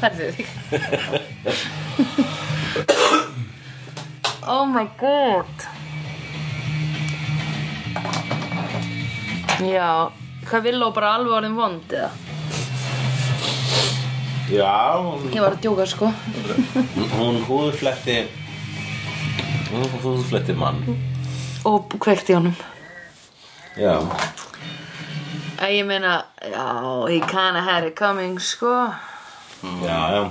færðu þig Oh my god Já, hvað vil og bara alveg orðin vond eða? Já, hún, Ég var að djóka sko hún húðfletti Hún húðfletti mann Og kveikti honum Já Æ, Ég meina, já, he kinda had it coming sko Já, já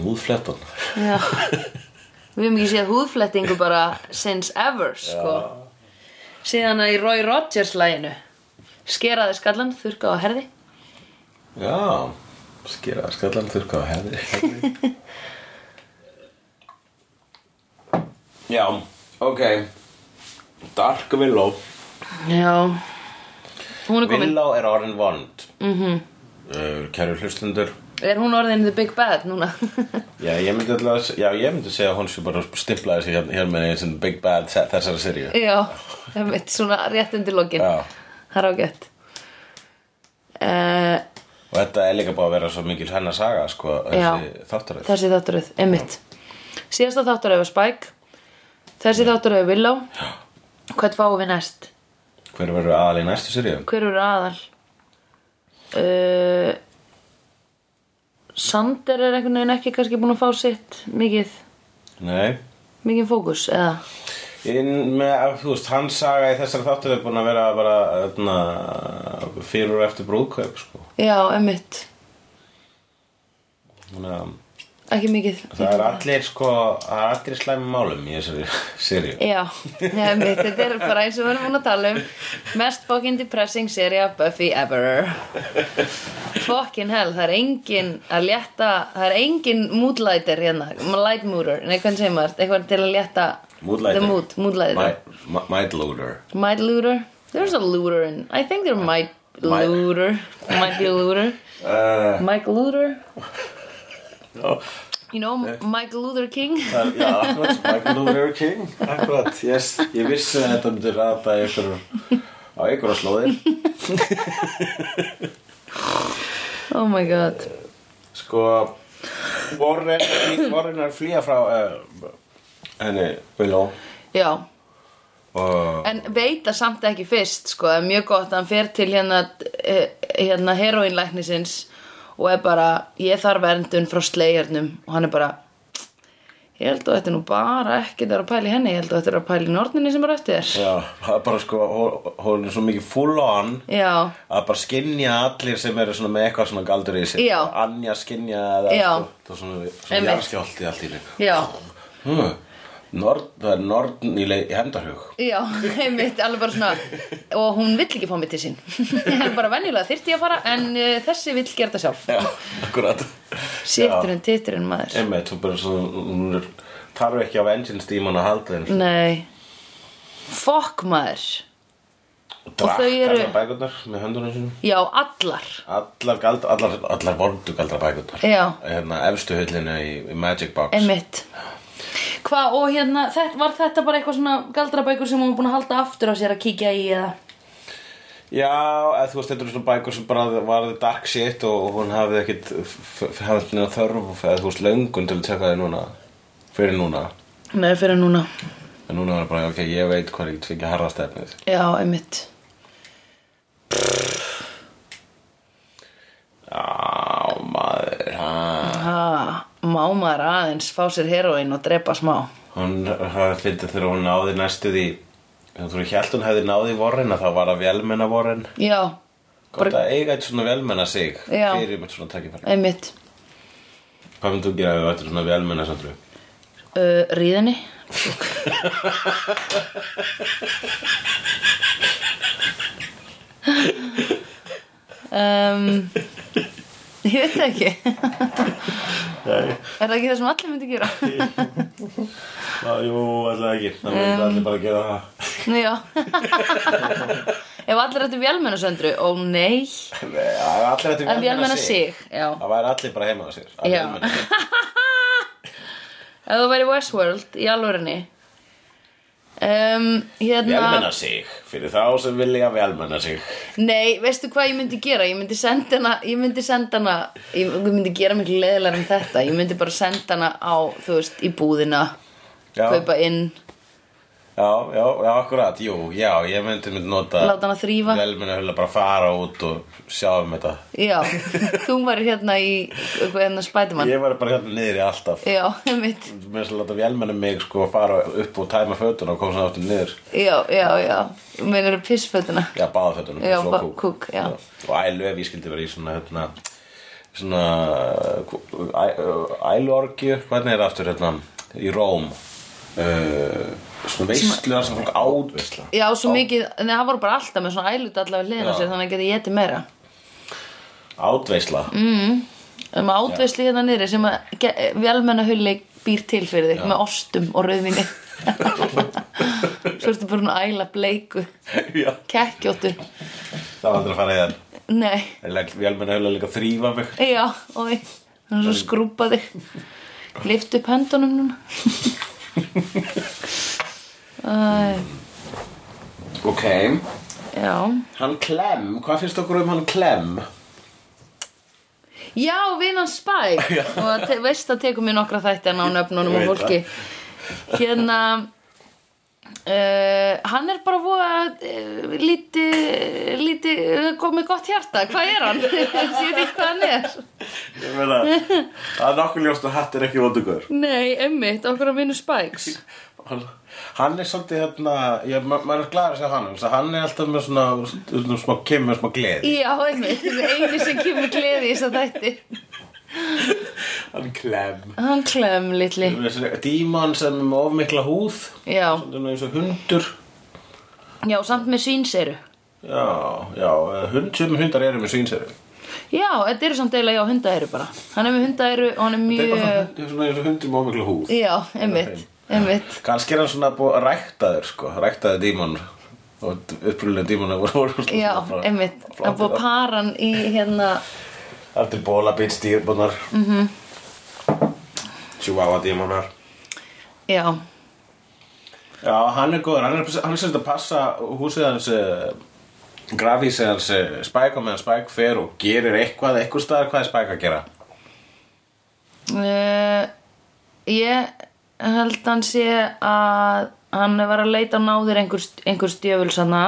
Húðflettan Já Við hefum ekki séð húðflettingu bara since ever sko Síðan að í Roy Rogers læginu Skeraði skallan, þurrka á herði Já Skera skallan þurrka á hefði Já, ok Dark Willow Já Hún er komin Willow er orðin vond mm -hmm. Kæru hlustundur Er hún orðin the big bad núna? Já, ég myndi alltaf Já, ég myndi segja að hún sé bara stimplaði sig hér, hér með eins og Big Bad se- þessari seríu Já, það mitt svona rétt undir lokin Já. Það er ágætt uh, Og þetta er líka búið að vera svo mikil hennar saga sko, þessi þáttaröð Þessi þáttaröð, einmitt Síðasta þáttaröð var Spike Þessi þáttaröð er Willow Hvern fáum við næst? Hver verður aðal í næstu seríu? Hver eru aðal? Uh, Sander er einhvern veginn ekki kannski búin að fá sitt mikið, Nei mikið fókus eða inn með, þú veist, hans saga í þessari þáttur er búin að vera bara öðna, fyrir og eftir brúðkaup sko. Já, einmitt, Þannig að ekki mikið það er allir sko, það er allir slæmi málum í þessari seríu Já, nefnir, þetta er bara eins og við erum búin að tala um Mest fucking depressing seria Buffy ever Fucking hell, það er engin að létta Það er engin moodlighter hérna Lightmooder, nei hvernig segir maður Eitthvað til að létta Moodlighter. The mood, moodlighter Mindloader Might looter, there's a looter in I think there might Might. looter Might be a looter uh, Mike looter, no. you know Mike Luther King eh, Já, akkurat, Michael Luther King Akkurat, yes, ég vissi að þetta myndi rata í ykkur á ykkur að slóðir Oh my god Sko, Warren Warren er að flýja frá uh, henni, Willow Já, og En veit það samt ekki fyrst, sko, það er mjög gott að hann fer til hérna, eh, hérna heroínlæknisins og er bara, ég þarf verndun frá slegjörnum og hann er bara, ég held að þetta nú bara ekki það er að pæla í henni, ég held að þetta er að pæla í norninni sem er eftir þér. Já, það er bara sko, hó- hún er svo mikið full on Já, að bara skinja allir sem eru svona með eitthvað svona galdur í sig Já. Anja skinja eða Já. sko, það er svona, svona Einmitt. jarðskjálti allt í líka já, hmm. Nord, Það er norn í, leið, í hendahug já, einmitt, alveg bara svona, og hún vill ekki fá mig til sín. Hann er bara venjulega þyrfti ég að fara, en uh, þessi vill gera þetta sjálf. Já, akkurat Sitturinn, titturinn, maður. Einmitt, hún bara svona, hún er, þarf ekki af engine steaman að halda þeim Nei, fokk maður. Drakk þau eru- allar bækurnar með höndunum sínum Já, allar. Allar, gald, allar, allar vondu galdra bækurnar Já. Hérna, efstu höllinu í, í Magic Box Einmitt Hvað, og hérna, þetta, var þetta bara eitthvað svona galdrabækur sem hún var búin að halda aftur á sér að kíkja í eða? Já, eða þú veist, þetta eru svona bækur sem bara varði dark shit og og hún hafði ekkit f- f- hafði ekki neina þörf eða þú veist, löngun til að tjekka þig núna fyrir núna Nei, fyrir núna en núna var bara, ok, ég veit hvað ég get fengið harða stefnið Já, einmitt Já, maður ha. ha, Má maður aðeins fá sér heroinn og drepa smá Hún hafði fyndið þegar hún náði næstu því þegar þú held hún hefði náði vorin að það var að velmenna vorin Já, Gott að eiga eitt svona velmenna sig Já. fyrir með svona takkifæri einmitt Hvað myndu gera ef þú ættir svona velmenna sattur? uh, Ríðinni um, Ég veit það ekki Er það ekki það sem allir myndi gera? Já, jú, alltaf ekki Það myndu allir bara gera það Nei, Já Ef allir ættu vélmennasöndru Ó nei Nei, það er allir þetta En vélmenna sig Já Það væri allir bara heima á sér að Já. vélmenna sig. Ef þú væri Westworld í alvörinni um, Velmenna hérna, sig, fyrir þá sem vilja velmenna sig Nei, veistu hvað ég myndi gera? Ég myndi senda hana Ég myndi senda hana Ég ég myndi gera miklu leðilega en þetta Ég myndi bara senda hana á, þú veist, í búðina Já. Kaupa inn Já, já, já, akkurat, jú, já, ég myndi myndi nota Láta hana þrífa. Velmenna hula bara fara út og sjá um þetta Já, þú væri hérna í hérna Spiderman Ég var bara hérna niður í alltaf Já, mitt Mér sem láta velmenna mig sko fara upp og tæma fötuna og koma svona áttum niður Já, já, já Meinar þú pissfötuna Já, báða fötunum Já, svo ba- kúk, já. Og ælu ef ég skildi vera í svona hérna, svona kú- æ- æluorgju, hvernig er það aftur hérna í Róm uh, svona veistlu þar sem fólk át veistla Já, svo mikið, nei, það voru bara alltaf með svona ælut allavega hliðina Já. sér þannig að geti getið meira Átveisla mm. um átveisli hérna niðri sem að ge- vélmennahulli býr til fyrir þig með ostum og rauðvinni svo ertu bara að æla bleiku Já, kekkjóttu það var aldrei að fara í það nei, Vélmenna höfðu líka að þrýfa mig já, oi hann er svo skrúpa þig lift upp höndunum núna Æ, Ok já Hann Clem, hvað finnst okkur um hann Clem? já, vinan Spike og að te- veist að tekum mér nokkra þætti hann á nöfnunum Ég og veit fólki hérna Uh, hann er bara voða uh, lítið líti, komið gott hjarta, hvað er hann? ég veit ekki hvað hann er Ég meina, það er nokkuð ljóst að hatt er ekki vondugur nei, emmitt, okkur að vinna Spikes Hann- Hann er svolítið hérna, ég, ma maður er glæður að sjá hann, þess að hann er alltaf með svona, svona smá kemur, smá gleði. já, emmitt, það er eini sem kemur gleði í þess að þætti Hann klem. hann klem litli Díman sem er með ofmikla húð, já, svona eins og hundur. já, samt með sínseru Já, já, eh, hund, sem hundar eru með svínseri. já, þetta eru samt eiginlega, já, hundaæru bara hann er með hundaæru og hann er Það er bara mjög svona- svona eins og hundur með ofmikla húð. já, emmitt, emmitt Kannski er hann svona búið að rækta þér, sko, rækta þér díman og upprúlega díman voru voru svona. Já, frá- einmitt, frá- að búa paran í hérna Það er til bóla býtt stýrbunnar. Mm Mhm. -hmm. Chihuahua dímanar. Já, Já, hann er góður, hann er, hann er sérst að passa húsið hans uh, grafísið hans uh, Spike og meðan Spike fer og gerir eitthvað, eitthvað staðar hvað er Spike að gera uh, ég held hann sé að hann var að leita á náðir einhvers, einhvers djöfulsanna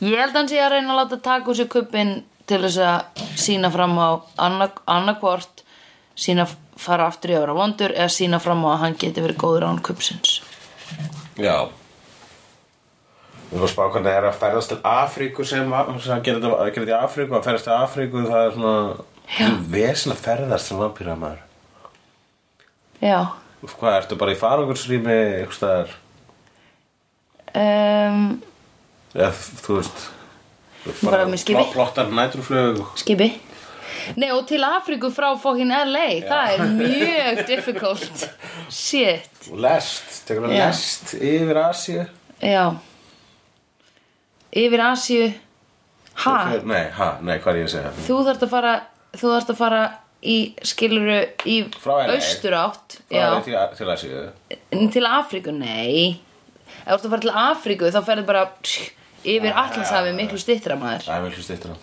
Ég held hann sé að reyna að láta taka úr sér kuppin til þess að sína fram á annarkvort sína fara aftur í að vera vondur eða sína fram á að hann geti verið góður án kuppsins Já Þú veist bara hvernig er að ferðast til Afríku sem, sem að gera þetta- að gera þetta í Afríku að ferðast til Afríku það er svona vesin að ferðast sem vampýra maður Já Úf, Hvað, ertu bara í farangursrými eitthvað staðar um, eða þú veist þú veist, Bara með skipi. plot- Plottar nætruflög Skipi Nei og til Afríku frá fókin LA Það er mjög difficult Shit og lest, tekur við Já. lest yfir Asíu Já Yfir Asíu Ha? Fer- Nei, ha, nei, hvað er ég að segja Þú þarft að fara Þú þarft að fara í skiluru í Frá LA. austurátt Hvað er Já. ég til, að- til að segja En Til Afríku, nei Ef þú ert að fara til Afríku þá ferðu bara tsk, yfir Ja. Atlantshafi miklu stittra maður Það er vel hlust eittra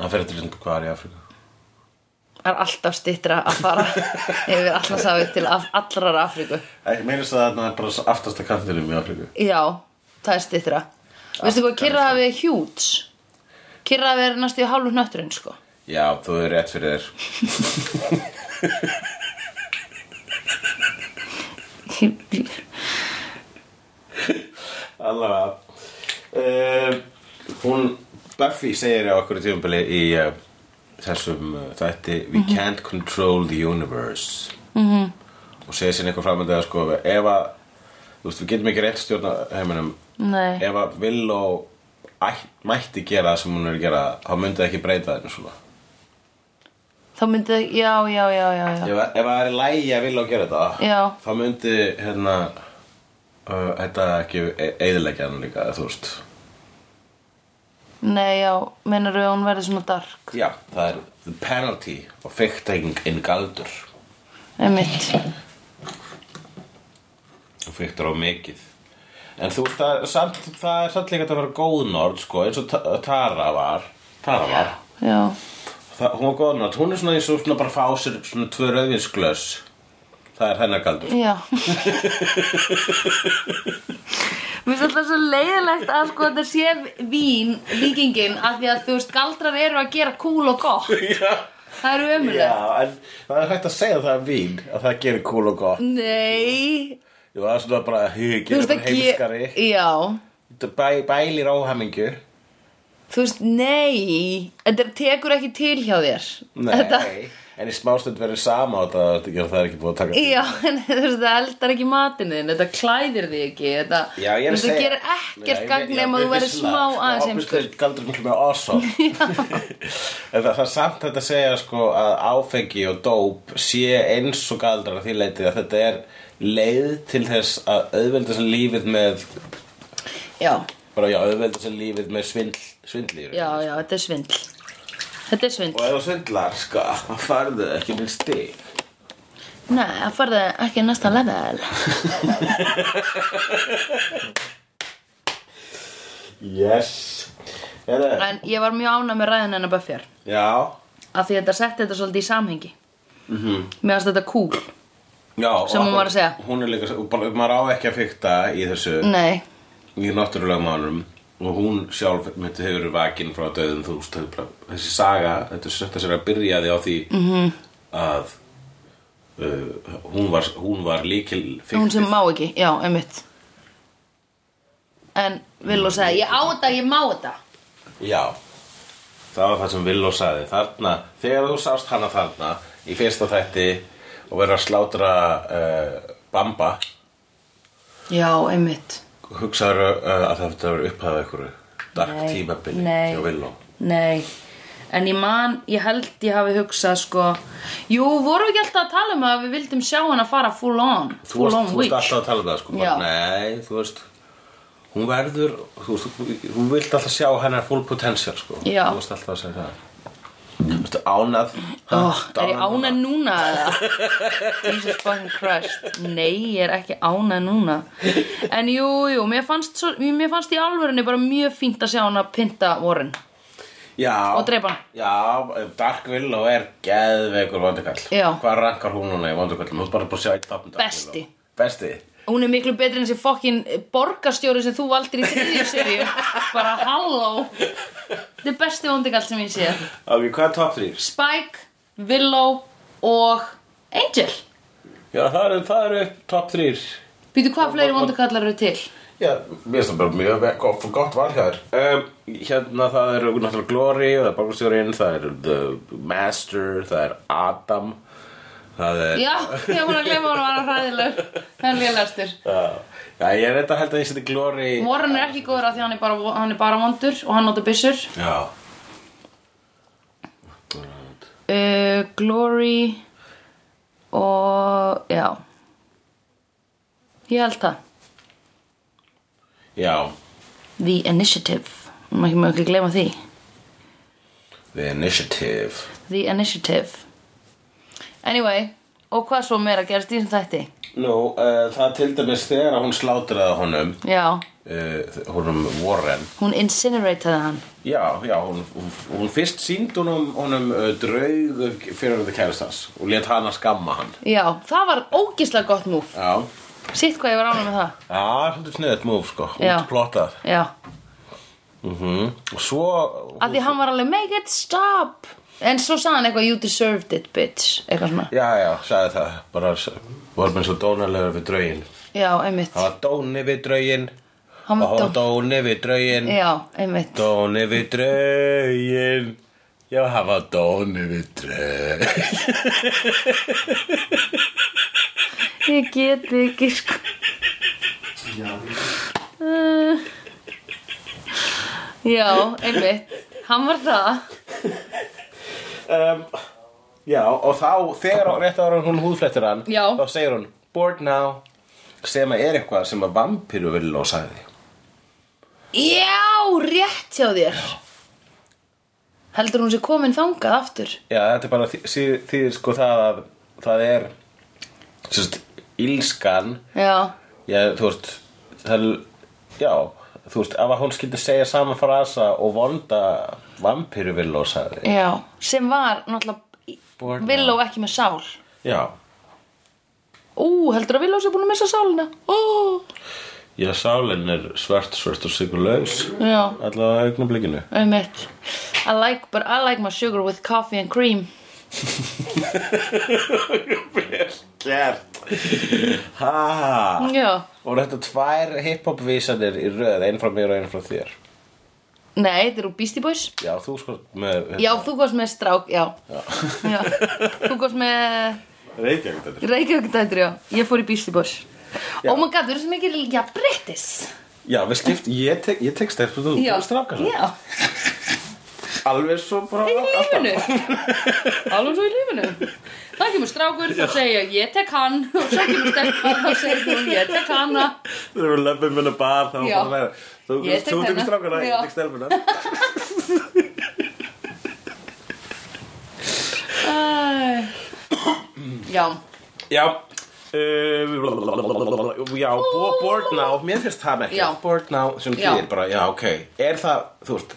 Það fer eftir hvað er í Afríku Það er alltaf stittra að fara yfir Atlantshafi til af, allrar Afríku Ég meirist að það er bara aftasta kantinum í Afríku Já, það er stittra Veistu hvað, Kyrrahafið er hjúts Kyrrahafið er næstu í hálfu hnötturinn sko. Já, þú er rétt fyrir þér Allavega uh, Hún Buffy segir á okkur tímabili í uh, þessum uh, þætti We Mhm. can't control the universe -hmm. og segir sinni eitthvað framöndið að sko ef að, þú veist, við getum ekki rétt stjórna heiminum Nei, ef að Willow ætt- mætti gera það sem hún er að gera þá myndi það ekki breyta þeim svona þá myndi það Já, já, já, já, já. ef, að- ef það er lægi að Willow gera þetta Já. þá myndi hérna uh, þetta ekki e- eyðileggja hann líka þú veist Nei, já, mennarðu að hún verði svona dark já, það er the penalty og fyrkting inn galdur Einmitt Viktor á mikið en þú veist að samt, það er samt líka hægt að vera góð nord sko, eins og Ta- Tara var Tara var, já, það, hún var góð nord hún er svona eins og svona bara fá sér svona tvö rauðinsglös það er hennar galdur já Mér finnst alltaf svo leiðilegt að sko þetta sé vín, líkingin af því að þú veist galdrar eru að gera cool og gott já, Það eru ömulegt já, en það er hægt að segja að það er vín að það gerir kúl og gott Nei Jú, það er svona bara hugið, Þú veist það er að heimskari ge- Já Þetta bæ, bælir áhamingju Þú veist, nei Þetta tekur ekki til hjá þér Nei, Þetta, en í smástund verður sama á þetta að þetta gera það er ekki búið að taka Já, en þú veist, það eldar ekki matinn þinn Þetta klæðir þig ekki Þetta, Já, ég er að þetta segja gerir ekkert Nei, gagn já, nema þú mér verður finnst smá það. aðeins Obviously heimskur galdur miklu með awesome En það, það er samt þetta að segja sko að áfengi og dóp sé eins og galdrar að því leiti að þetta er leið til þess að auðvelda sem lífið með Já, bara já, auðvelda sem lífið með svindl, svindlýr já, já, þetta er svindl Þetta er Og svindl ef þú svindlar sko, það farðu ekki minn stig Nei, það farði ekki næsta level Yes Heru, En ég var mjög ánað með ræðin hennar Buffyar Já Af því að þetta setti þetta svolítið í samhengi mm Mhm. -hmm. Mér fannst þetta cool Já, Sem hún var að segja. Mm. Hún er líka, og bara, maður á ekki að fykta í þessu Nei, Í náttúrulega málum Og hún sjálf myndi hefur verið vakin frá döðum Þú veist, það er bara- þessi saga Þetta setja sér að byrja því á því Mhm. -hmm. Að uh, hún, var, hún var líkil fykti hún sem má ekki, já, einmitt En Villó sagði, ég á þetta, ég má þetta Já, það var það sem Villó sagði þarna, þegar þú sást hana þarna í fyrsta þætti og verið að slátra uh, Bamba Já, einmitt hugsaður uh, að það þetta verið upphafað einhverju dark Nei, tímabili nei. hjá Villó Nei, en ég man, ég held ég hafi hugsað sko Jú, vorum við ekki alltaf að tala um að við vildum sjá hana fara full on Þú Full varst, on þú varst week alltaf að tala um það sko, Já. bara, nei, þú veist hún verður, þú veist, þú- hún vilt alltaf sjá hennar full potential sko, Já. þú varst alltaf að segja það Þú veist, ánað Ó, Oh, er um ég ánað núna eða? Jesus fucking Christ Nei, ég er ekki ánað núna En jú, jú, mér fannst, svo, mér fannst í alvörunni bara mjög fínt að sjá hana pynta Warren Já, Og drepa hann. Já, Dark Willow er geðveikur vondukall Já. Hvað rankar hún núna í vondukallum? Þú ert bara búin að sjá eitt þáttum Dark Besti. Willow. Besti Hún er miklu betri en þessi fokkin borgarstjóri sem þú valdir í þriðju seríu Bara halló Þetta er besti vondikall sem ég sé Ok, hvað er top 3? Spike, Willow og Angel Já, það eru, það eru top 3 Býtu hvað fleiri vondukallar eru til? Já, mér finnst það bara mjög ve- gott, gott val hjá þér um, Hérna það eru náttúrulega Glory Það er Borgastjórinn, það er The Master Það er Adam Það er Já, ég var búin að gleyma hún var að hræðileg Hann lélastur Já, ég er þetta held að ég seti Glory Warren er ekki góður af því að hann er bara, hann er bara vondur og hann notar byssur Já uh, Glory og já Ég held það Já, The Initiative Má ekki mjög ekki gleyma því The Initiative The Initiative Anyway, og hvað svo meira gerst í þessum þætti? Nú, uh, það til dæmis þegar að hún slátraði honum, Já, uh, honum Warren, hún incinerataði hann já, já, hún, hún, hún fyrst sínd honum, honum uh, draug fyrir þetta kæristans og let hana skamma hann. Já, það var ógislega gott múf Já, Sitt hvað ég var ánum með það já, svolítið sniðið múf, sko, Já. útplottað. Já, Mm Og svo, af því hann var alveg Make it stop En svo sagði hann eitthvað You deserved it, bitch Eitthvað svona já, já, sagði það, bara s- var með svo dónalegur við draugin. Já, einmitt Hann var dóni við draugin, Hann og var hann var dó dóni við draugin. Já, einmitt Dóni við draugin Já, hann var dóni við draugin Ég get ekki sko Uh, Já, einmitt Hann var það um, Já, og þá þegar og rétt ára hún húðflettir hann Já. Þá segir hún, bored now sem að er eitthvað sem að vampiru vil og sagði Já, rétt hjá þér Heldur hún sér komin þangað aftur Já, þetta er bara því, því- þýðir sko það að það er sérst, ílskan Já, Já, þú veist það, Já, þú veist Ef að hún skildi segja sama frasa og vonda vampiru Villó sagði Já, sem var náttúrulega Born Villó ekki með sál Já, Ú, heldur að Villó sé búin að missa sálina Ó, já, sálinn er svört, svört og sigurlaus já, Alla augnablikinu einmitt I like, but I like my sugar with coffee and cream Vel gert Ha Já, Voru þetta tvær hiphop vísanir í röð Einn frá mér og einn frá þér nei, þetta eru Beastie Boys Já, þú sko með Já, þú komst með strák, já Já, þú komst með Reykjavík þetta Reykjavík dættur, já Ég fór í Beastie Boys Oh my god, þú eru svo mikið Já, brettis Já, við skipt, ég tek, ég tek stelpur þú, Já, þú strákar já Alveg svo bara í lífinu alveg svo í lífinu það kemur strákur, þá segir ég ég tek hann og svo kemur stelpa, þá segir hún ég tek hana Þegar við löpum minna bar þá Já. bara verða Þú, Ég tek þú tekur hana. strákana, Já. ég tek stelpuna Æ. já, Já Uh, já, bo- bored now Mér finnst það ekki, Já. bored now sem Já. kýr bara, já, ok Er það, þú veist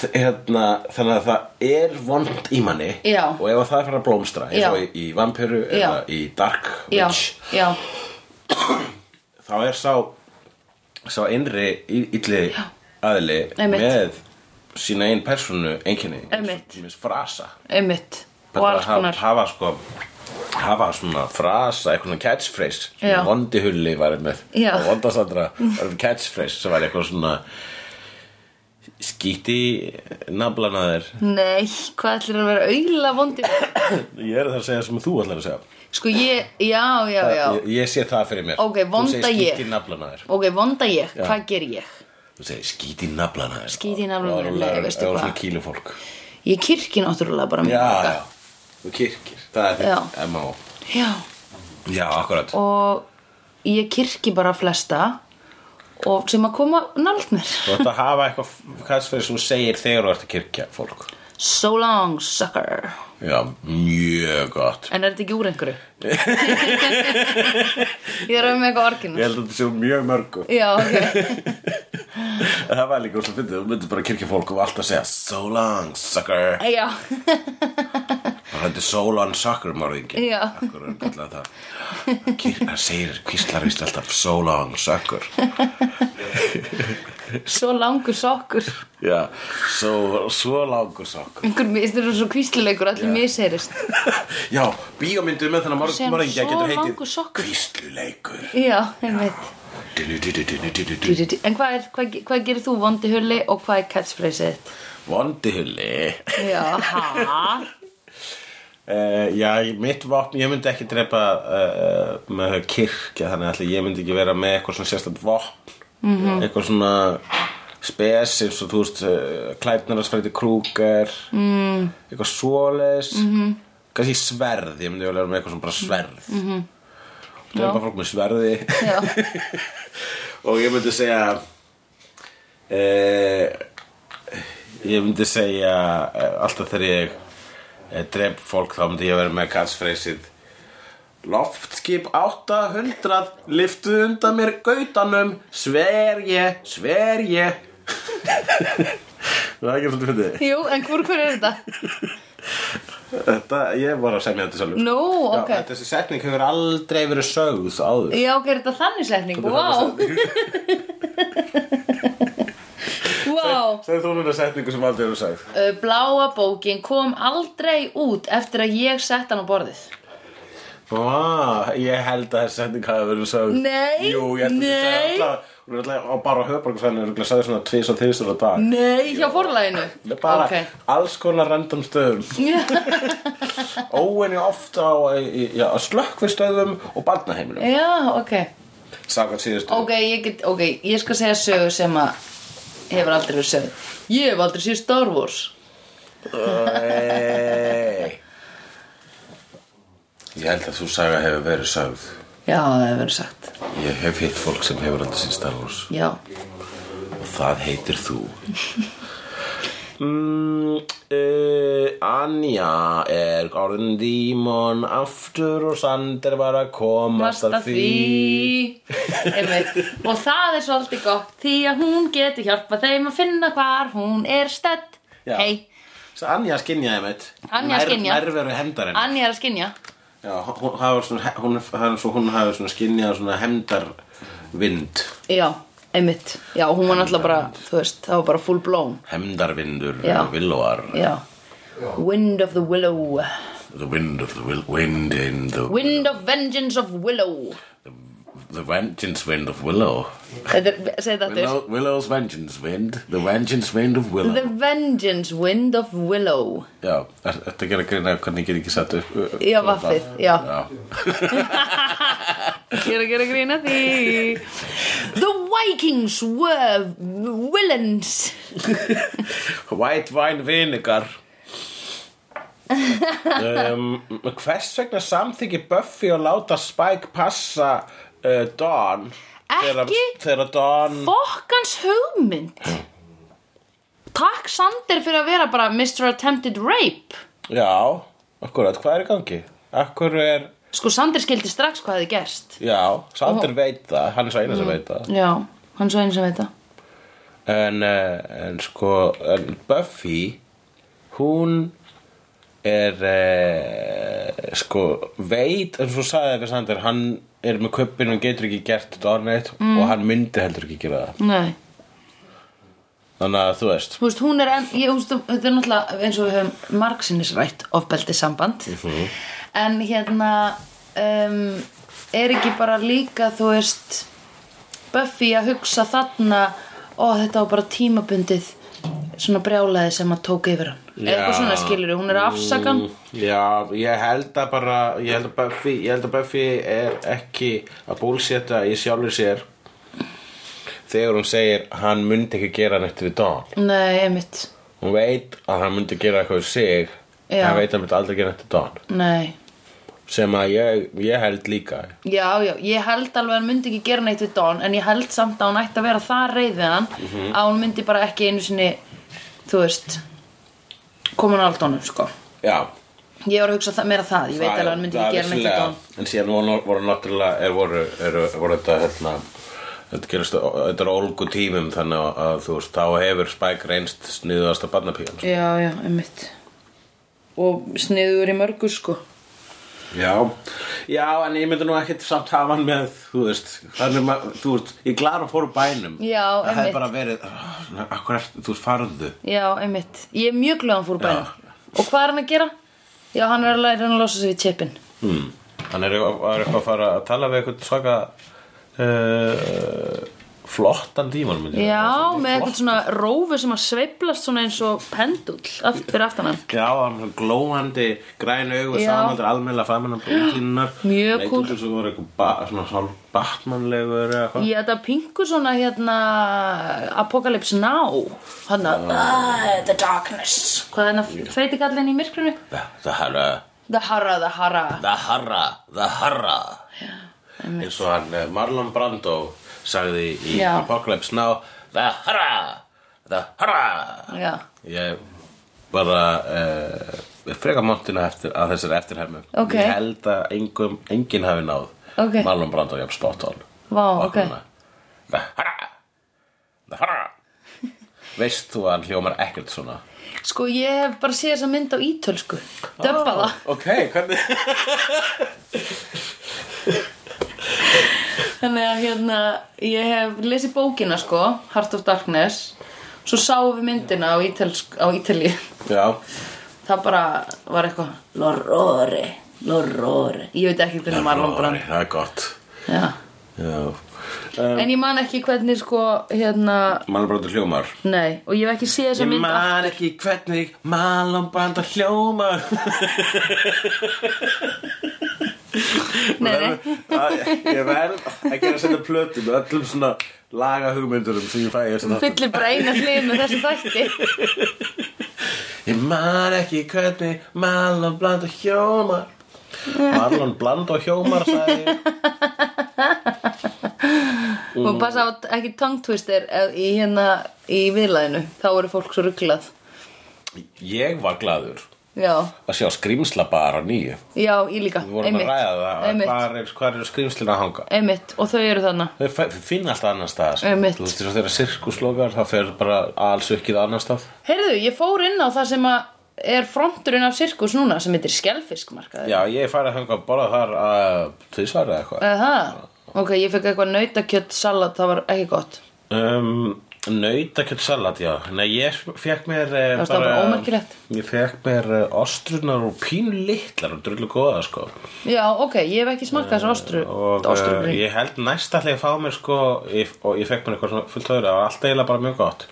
þ- hérna, Þannig að það er vond í manni Já. Og ef að það er fyrir að blómstra eins Já. og í, í vampiru Já. eða í dark já, witch já þá er sá sá innri í- illi aðli Einmitt. með sína einn personu einkenni Einmitt. eins frasa einmitt og Bara alls hafa, konar hafa sko hafa svona frasa, eitthvað svona catchphrase Já. svona vondihulli var einn með Já. og vondasandra var einn catchphrase sem var eitthvað svona skíti naflan að þér nei, hvað ætlir að vera auðla vondi ég er það að segja sem þú ætlar að segja sko ég, já, já, já ég, ég sé það fyrir mér Ok, vonda þú segir ég. skíti naflan að þér ok, vonda ég, hvað ger ég þú segir skíti naflan að þér Skít í naflann á þér, nei, veistu það var hvað? svona kýlu fólk ég kirki náttúrulega bara mér Já, líka. já, þú kirkir Það er Já. þitt M.O. já. Já, akkurat og ég kirki bara flesta og sem að koma nált mér Þú ætti að hafa eitthvað Hvað sem þú segir þegar þú ert að kirkja fólk So long, sucker Já, mjög gott En er þetta ekki úr einhverju? ég er um með eitthvað orginal Ég held að þetta séu mjög mörgu Já, ok Það var líka úr svo fyndið, þú myndir bara kirkja fólk og alltaf segja So long, sucker Já, Það hætti So long, sucker, morðingi Já. Akkur er kallað það Kirkja segir, kvíslar vist alltaf So long, sucker svo langur sokkur Já, so, so langur, sucker Einhver mist eru svo kvíslilegur, allir yeah. misheyrist Já, bíómyndu með þennan Sem morðingja so getur langur heitið sokkur. Kvísluleikur Já, einmitt En hvað, er, hvað, hvað gerir þú vondi hulli og hvað er catchphrase þitt? Vondihulli Já, ha? uh, Já, mitt vopn, ég myndi ekki drepa uh, með kirkja þannig að ætli ég myndi ekki vera með eitthvað svona sérstætt vopn -hmm. eitthvað svona spes eins og þú veist uh, klæpnararsfæti krúkar mm. eitthvað svoleis mm -hmm. kannski sverð, ég myndi vel vera með eitthvað svona bara sverð mm -hmm. drepa fólk með sverði Já, og ég myndi segja eh, ég myndi segja eh, alltaf þegar ég eh, drep fólk þá myndi ég vera með katsfreysið loftskip 800 liftu undan mér gautanum sver ég, sver ég það er ekki svolítið fyndið jú, en hvort hver er þetta? þetta, ég var að semja þetta sjálfur Nú, Já, ok. þetta- þessi setning hefur aldrei verið sögð áður Já, ok, er þetta þannig setning? Vá, vá segð þú núna setningu sem aldrei verið Ö, sögð Eh, Bláa bókin kom aldrei út eftir að ég sett hann á borðið. Ah, ég held að þessi setning hafi verið sögð Nei, Jú, ég held að nei. þessi setning alltaf Hún er alltaf á bara höfbarkasvæðinu Hún er sagði svona tvís og þýrst á dag Nei, hjá forlæginu. Með bara Mm, Ok. alls konar random stöðum Óenni ofta á, í- í- já, á slökkvistöðum og barnaheimilum Já, ok. Sagan síðustu Eh, Ok, ég get, ok, ég skal segja sögu sem að hefur aldrei verið sögð. Ég hef aldrei séð Star Wars. Nei. Ég held að þú saga hefur verið sögð Já, það hefur verið sagt. Ég hef hitt fólk sem hefur aldrei sín Star Wars Já. Og það heitir þú mm, uh, Anja er orðin dímon aftur og Sander var að komast Masta að því því Einmitt. Og það er svolítið gott Því að hún getur hjálpa þeim að finna hvar hún er stedd Já. Hei, Svo Anja skynjaði mitt Anja skynja. Nærveru hefndarinn Anja er að skinja Já, hún, það var svona, hún, hann, svo hún hafi svona skynjað svona hefndarvind Já, einmitt Já, hún var náttúrulega bara, þú veist, það var bara full blown Hefndarvindur, Já. villóar Já Wind of the willow The wind of the will, wind in the, Wind of vengeance of willow the vengeance wind of willow Þetta er, segi þetta aftur. Willow, Willow's vengeance wind The vengeance wind of willow The vengeance wind of willow Já, er- ertu að gera grína hvernig ég get ekki satt upp upp- Já, upp- vaffið, já. já Ég er að gera grína því The vikings were villains White wine vinegar um, Hvers vegna samþykki Buffy að láta Spike passa uh, Dawn þegar- Ekki? Þegar Dawn Fokkans hugmynd Takk Sander fyrir að vera bara Mr. Attempted Rape Já, akkurat, hvað er í gangi? Akkur er, Sko Sander skildi strax hvað hefði gerst já, Sander veit það Hann er svo eina sem veit það Já, hann er svo einu sem veit það en, uh, en sko en Buffy hún er uh, sko veit eins og sagði við Sander hann er með kuppin og getur ekki gert þetta orðneitt og hann myndi heldur ekki gera það Nei, þannig að þú veist þú veist, hún er en, ég, þú veist, Þetta er náttúrulega eins og við höfum margsinnisrætt ofbeldi samband En hérna um, Er ekki bara líka Þú veist Buffy að hugsa þarna Ó, þetta var bara tímabundið Svona brjálaði sem að tók yfir hann Eða eitthvað Já. svona skilur Hún er að afsaka hann Mm, Já, ég held að bara ég held að Buffy, ég held að Buffy er ekki að búlseta í sjálfur sér þegar hún segir hann myndi ekki gera neitt við Dawn Nei, einmitt hún veit að hann myndi gera eitthvað við sig Já. hann veit að hann myndi aldrei gera þetta Don Nei sem að ég, ég held líka Já, já, ég held alveg að hann myndi ekki gera neitt við Don En ég held samt að hún ætti að vera það reið við hann Að hún myndi bara ekki einu sinni Þú veist Koma hann allt honum, sko já, Ég var að hugsa það, meira það, ég veit alveg að hann myndi það ekki gera neitt við Don vissulega- en síðan voru, voru náttúrulega er, voru, er, voru þetta hérna Þetta gerist, þetta er á ólgu tímum þannig að, að þú veist, þá hefur Spike reynst sniðuðast að barnapíðan sko. Já, já, einmitt Og sniður í mörgu, sko Já, já, en ég myndi nú ekkit samt hafa hann með, þú veist, þannig maður, þú veist, ég glara fóru bænum Já, Það hefði einmitt. bara verið, "Ah, svona, akkur er, þú veist, farðu Já, einmitt Ég er mjög glöðan fór bæna Og hvað er hann að gera? Já, hann er að læra hann að losa sig við chipin Mm. Hann er, er eitthvað að fara að tala við eitthvað svaka uh, flottan díman myndi ég segja. Já, með eitthvað svona rófu sem að sveiflast svona eins og pendull aft- Fyrir aftan hann Já, hann er glóandi græn augu Já. samanandur almennlega framann á brúklinnar Mjög kúl. Leitundur sem voru eitthvað ba svona hálf batmanlegur eða eitthvað Ég þetta pingu svona hérna Apocalypse Now Hann að uh, The Darkness Hvað er hann að feiti kallin í myrkrinu? Það harra, The Hara, The Hara það harra, það harra Eins og hann eh, Marlon Brando sagði í Já. Apocalypse Now Það harra, það harra Já, Ég bara uh, freka montina eftir, að þessari eftirhermu Ok. Ég held að engum, enginn hafi náð Ok. Marlon Brando jafn spot on vá, ok Vaknuna. Það harra Það harra Veist þú að hann hljómar ekkert svona? Sko, ég hef bara séð þessa mynd á ítölsku Döbba það Ok, hvernig? Þannig að hérna, ég hef lesið bókina sko Heart of Darkness Svo sáum við myndina á, ítelsk, á Ítalíu Já, Það bara var eitthvað L'orrore, l'orrore Ég veit ekki hvernig Marlon Brando það er gott Já Já. En ég man ekki hvernig sko hérna Marlon Brando hljómar Nei, og ég hef ekki séð þessa Ég mynd af- man ekki hvernig Marlon Brando hljómar Nei, nei. Að- Ég verð að gera að setja plötu með öllum svona laga hugmyndurum sem ég fæ í þessum Þú þáttum. fyllir bara eina hlið með þessu þætti Ég man ekki hvernig Marlon Blando hjómar Marlon Blando hjómar sagði ég. Og passa á að ekki tongue twister ef- í hérna í viðlæðinu Þá eru fólk svo rugglað Ég var gladur já, að sjá skrýmsla bara nýju já, ég líka við vorum að ræða það að einmitt, hvar er- hvar eru skrýmslina að hanga einmitt, og þau eru þannig þau fæ- þau finna alltaf annar stað sko. Einmitt. þú veist þess að þeirra sirkuslokar það fer bara allsukkið annar stað Heyrðu, ég fór inn á það sem að er fronturinn af sirkus núna sem heitir skelfiskmarkaður já ég færi að hanga að borða þar að tvisvar eða eitthvað Það, ok, ég fekk eitthvað nautakjött salat, það var ekki gott um, nautakjöld salat já nei ég fekk mér eh, Það var bara ómerkilegt. ég fekk mér eh, ostrunar og pínu litlar og drullu góða sko Já, ok, ég hef ekki smakað þessar ostru, og ostru eh, ég held næst ætla ég að fá mér sko ég, og ég fekk mér eitthvað svona fullt öðru það var allt eiginlega bara mjög gott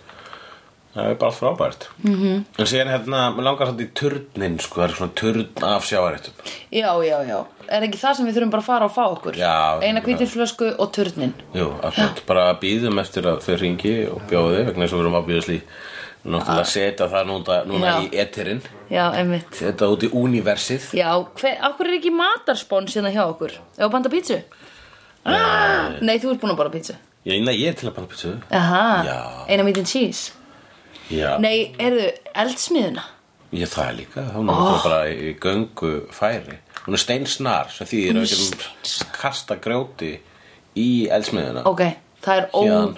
það er bara allt frábært Mhm. -hmm. en síðan hérna, mér langar svolítið í turnin sko, það er svona turn af sjáaréttum Já, já, já, er ekki það sem við þurfum bara að fara og fá okkur Já, Eina já. hvítinsflösku og turnin jú, akkurat, bara býðum eftir að þau ringi og bjóði vegna þess að við erum að býðast í náttúrulega setja það núna, núna Ah. Já. í etirinn Já, einmitt setja það út í universið Já, hver, af hverju er ekki matarspons hérna hjá okkur? Ef að banda pítsu? Eh. Ah, nei, þú ert búin að bara pítsu já, nei, ég er til að banna pítsu Aha, Já. eina meat and cheese já, Nei, heyrðu, eldsmiðuna ég það er líka þá er oh. bara í göngu færi hún er steinsnar sem því er að við getum kasta grjóti í eldsmiðuna Ok, það er, ó, Síðan.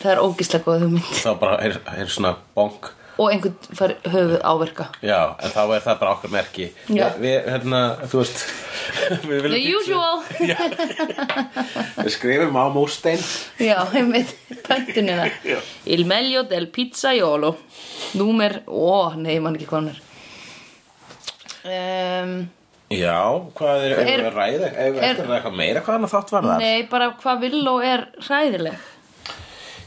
það er ógislega góð hugmynd þá bara er, er svona bonk Og einhvern fær höfuð áverka já, en þá er það bara okkar merki Já. við, við, hérna, þú veist við viljum The pítsu. usual við skrifum á mústein Já, einmitt, pöntunina Il meglio del pizzaiolo Númer, ó, nei, ég man ekki hvað hann er um, já, hvað er, er, Er- er við að ræða er, er, er það eitthvað meira hvað hann að þátt var það Nei, bara hvað villó er hræðileg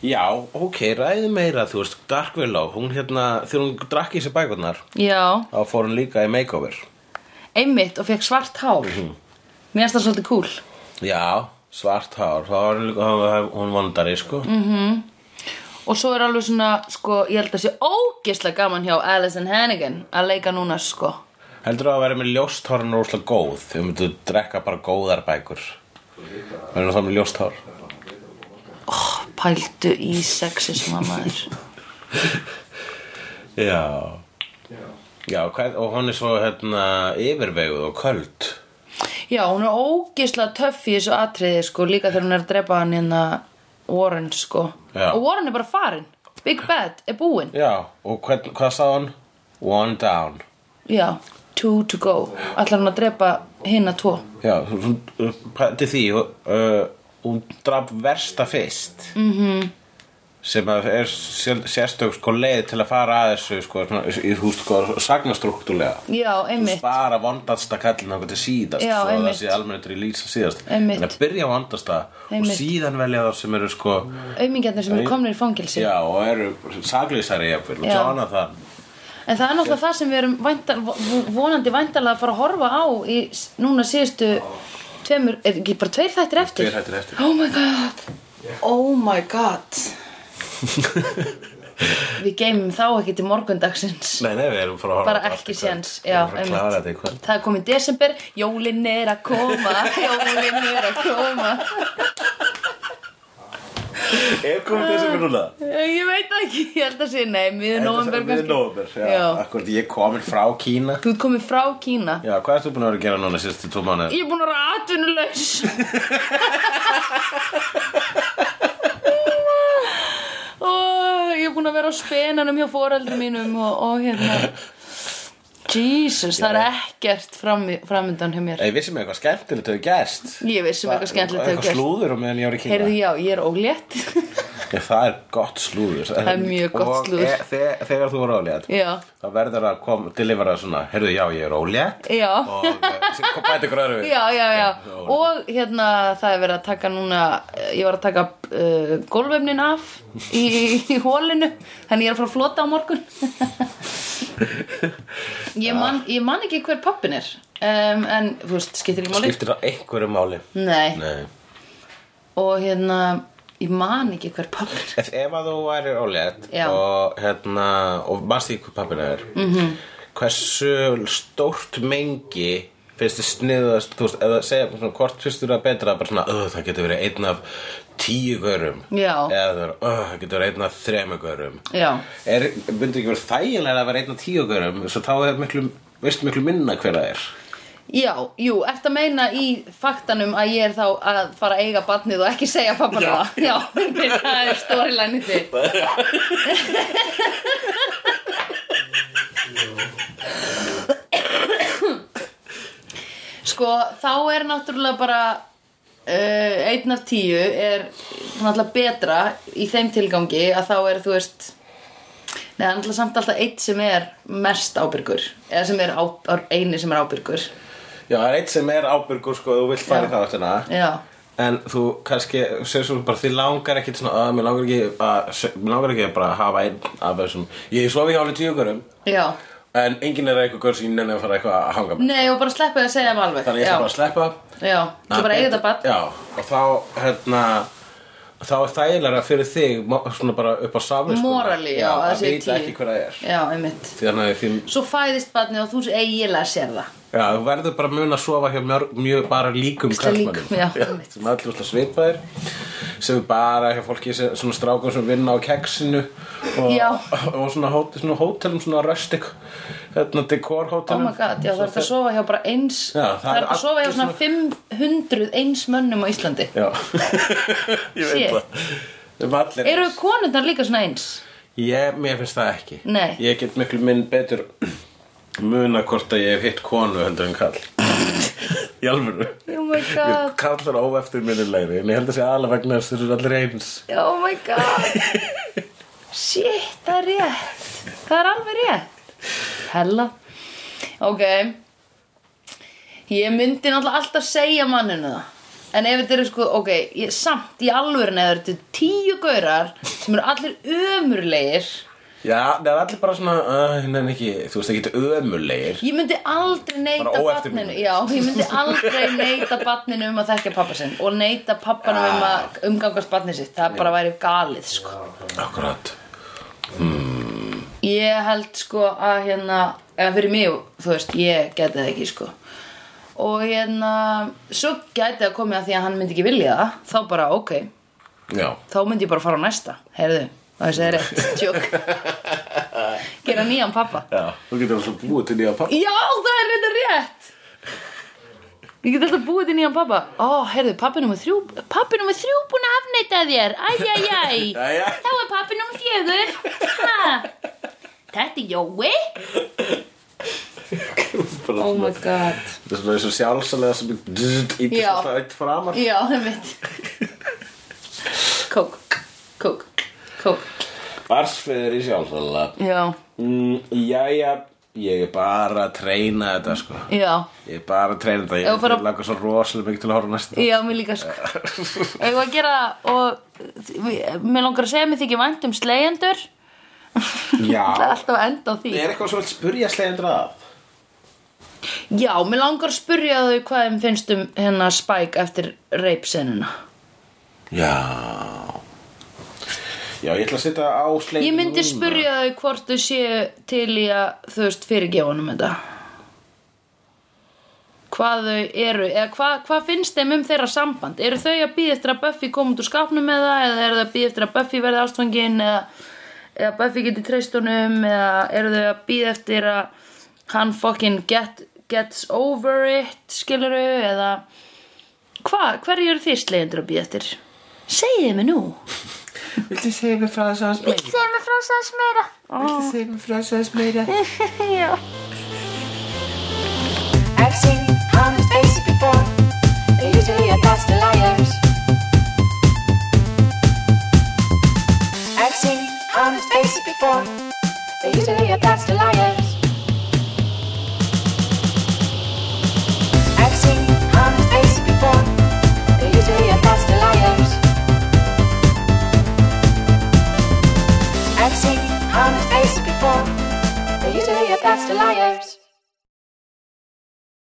já, ok, ræði meira, þú veist Dark Willow, hún hérna, þegar hún drakk í sér bækurnar Já, þá fór hún líka í makeover einmitt og fekk svart hár Mér finnst það svolítið cool Já, svart hár Það var líka, það var- hún vondari sko Og svo er alveg svona, sko, ég held að sé ógeðslega gaman hjá Alison Hannigan að leika núna, sko Heldur það að vera með ljóst hár en rosalega góð Þau myndu drekka bara góðar bækur Verður það með ljóst hár Pældu í sexisma maður Já Já, hvað, og hún er svo hérna yfirveguð og köld Já, hún er ógeðslega töff í þessu atriði sko, líka þegar hún er að drepa hann hérna Warren sko Já. og Warren er bara farinn, Big Bad er búinn Já, og hvern, hvað sá hann? One down Já, two to go Ætlar hún að drepa hinna tvo Já, hún, til því uh, hún draf versta fyrst -hmm. Mhm. sem að er sér- sérstök sko leið til að fara að þessu sko, svona, í húst sko, sagnastruktúrlega Já, einmitt bara vondasta kallin okkur til síðast Já, svo að það einmitt. sé almenntur í lýsa síðast Einmitt. en að byrja á vondasta og Einmitt. síðan velja það sem eru sko Aumingjarnir sem eru komnir í fangelsi já og eru saglýsari jafnvel og Já. Jonathan En það er náttúrulega það sem við erum væntal, vonandi væntalega að fara að horfa á í s- núna síðustu tveimur, er ekki bara tveir þættir eftir? Tveir þættir eftir. Oh my god Oh my god Við geymum þá ekki til morgundagsins nei nei við erum frá að horfa bara á þetta ekki allt í kvöld. séns Við erum já, frá að klára þetta í kvöld einmitt. það er komið desember, jólin er að koma jólin er að koma er komið þessi fyrir núna ég veit það ekki, ég held að sé nei, miður november Við nóvember, já, já. Já. Akkurat, ég er komin frá Kína þú ert komið frá Kína Já, hvað ertu búin að vera að gera núna sérstu tvo mánuð? ég er búin að vera atvinnulegs og ég er búin að vera á spenanum hjá foreldrum mínum og, og hérna Jesus, það er ekkert fram, framöndan hjá mér Ég vissi mig eitthvað skemmtilegt hefur gerst ég vissum eitthvað skemmtilegt hefur Eitthvað gerst slúður á meðan ég var í Kína heyrðu já, ég er ólétt Ég, Það er gott slúður Það er mjög gott slúður. Og e, þegar, þegar þú voru ólétt já þá verður að kom, delivera svona Heyrðu, já, ég er ólétt Já. Og eh, sem kom bæti ykkur öðru við Já, já, já, Já, já. og hérna það er verið að taka núna, eh, ég var að taka uh, gólfefnin af í, í hólinu, þannig ég er að fara að flota á morgun ég, man, ég man ekki hver pappin er, um, en þú veist, skiptir ekki máli Skiptir það einhverju máli Nei. Nei og hérna, ég man ekki hver pappin er Ef, ef að þú væri ólétt Já. og, hérna, og manst því hvað pappina er -hmm. Mhm. hversu stórt mengi finnst þið sniðast þú veist, eða segja svona, hvort finnst þið það betra bara svona, "Ugh, það getur verið einn af tíu görum Já. eða það, er, "Ugh, það getur verið einn af þremu görum Já, er, myndi ekki verið þægilega að vera einn af tíu görum svo þá er miklu veistu miklu minna hver það er Já, jú, ert að meina í faktanum að ég er þá að fara að eiga barnið og ekki segja pappanum Já. það? Já, það er storyline þitt. Sko, þá er náttúrulega bara uh, einn af tíu er náttúrulega betra í þeim tilgangi að þá er, þú veist, Nei, það er náttúrulega samt alltaf eitt sem er mest ábyrgur eða sem er áp, eini sem er ábyrgur Já, það er eitt sem er ábyrgur sko, þú vilt fara í Já. það áttina Já, En þú kannski, þú segir svo bara, þið langar ekkit svona, að mér langar ekki að, mér langar ekki að bara hafa einn af þessum, ég sofi hjá alveg tíu görum, já en enginn er eitthvað gör sem ég nenni að fara eitthvað að hanga með. Nei, og bara sleppa því að segja um alveg Þannig ég ætla bara að sleppa. Já, já, þú bara eigið þetta bann Já, og þá, hérna, þá er þægilega fyrir þig, mo- svona bara upp á samviskuna. Morally, já, að að það sé vita tíu. ekki hver það er. Já, einmitt Því þannig að því, Svo fæðist barnið og þú eiginlega sér það já, þú verður bara mun að sofa hjá mjög, mjög bara líkum Ógeðslega líkum, karlmönnum. já, einmitt. sem allir útla svipaðir, sem er bara hjá fólki, sem, svona strákum sem vinna á keksinu og, Já. og svona, hót, svona hótelum, svona rustic, hérna, Oh dekorhótelum. my god, já, það er að sofa hjá bara eins Já, það Það er er að sofa hjá allir svona 500 eins mönnum á Íslandi Já, ég Shit. það. Þeim allir Eru konurnar líka svona eins? Ég, mér finnst það ekki Nei. Ég get miklu minn betur muna hvort að ég hef hitt konu heldur en kall Í alvöru Oh my Mér god Kall er óeftir minnilegri En ég held að sé aðla vegna þess að þeir eru allir eins Oh my god Shit, það er rétt Það er alveg rétt Hella Ok Ég myndi náttúrulega alltaf segja manninu það En ef þetta eru sko, ok, ég, samt í alvörin eða þetta eru tíu gaurar sem eru allir ömurlegir Já, það er allir bara svona uh, Nei, ekki, þú veist, ekki ömulegir Ég myndi aldrei neyta Bara barninu óeftirminnileg. Já, ég myndi aldrei neyta barninu um að þekkja pappa sinn og neyta pappanum um að umgangast barnið sitt Það bara væri galið, sko Akkurat Ég held sko að hérna eða fyrir mig, þú veist, ég geti það ekki sko og hérna svo gæti það komið að því að hann myndi ekki vilja það þá bara ok, Já þá myndi ég bara fara á næsta heyrðu, og þessi er rétt, tjók gera nýjan pappa Já, þú getur alveg búið til nýja pappa já, það er reynda rétt ég get alltaf búið til nýjan pappa ó, heyrðu, pappi nummer þrjú pappi nummer þrjú búin að afneita þér æjæjæj Jæja Þá er pappi nummer fjögur Ha. Þetta er Jói Bara Oh my svona- god Það er svona eins og sjálfsalega sem Ítti Já. alltaf eitt framar Já, það er mitt Kók, kók, kók Barsfeður í sjálfsalega Já, Mm, jæja, ég er bara að treyna þetta sko já Ég er bara að treyna þetta, ég Ef þú er fara- að langa svo rosalega mikið til að horfa á næsta Já, mér líka sko Ég var að gera og mér langar að segja mér þykir vænt um slegjendur Það er Já, alltaf að enda á því er eitthvað svo að spurja slegjendur að Já, mér langar að spurja þau hvað þeim finnst um hennar spæk eftir reipsenuna Já Já, ég ætla að setja á slegjendur Ég myndi spurja þau hvort þau séu til í að þú veist fyrirgefunum þetta hvað þau eru eða hvað, hvað finnst þeim um þeirra samband eru þau að býða eftir að Buffy koma út úr skápnum með það eða eru þau að býða eftir að Buffy verði ástfangin eða, eða Buffy geti treyst honum eða eru þau að býða eftir að hann fucking get, gets over it skiluru eða hvað, hverju eru þið slegjendur að býða eftir segiði mig nú Viltu segja mér frá þess aðeins meira? segiði mig frá þess meira Viltu segja mér frá þess aðeins meira? I've seen honest faces before. They're usually a pass to liars. I've seen honest faces before. They're usually a pass to liars.